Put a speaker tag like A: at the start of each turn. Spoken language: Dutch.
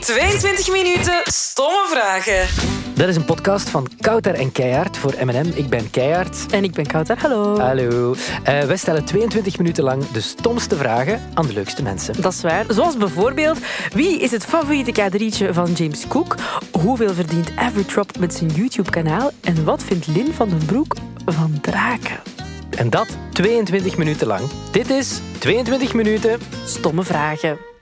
A: 22 minuten stomme vragen.
B: Dat is een podcast van Kouter en Keijaard voor M&M. Ik ben Keijaard.
C: En ik ben Kouter. Hallo.
B: Hallo. Eh, wij stellen 22 minuten lang de stomste vragen aan de leukste mensen.
C: Dat is waar. Zoals bijvoorbeeld, wie is het favoriete kadrietje van James Cook? Hoeveel verdient Evertrop met zijn YouTube-kanaal? En wat vindt Lin van den Broek van draken?
B: En dat 22 minuten lang. Dit is 22 minuten
C: Stomme vragen.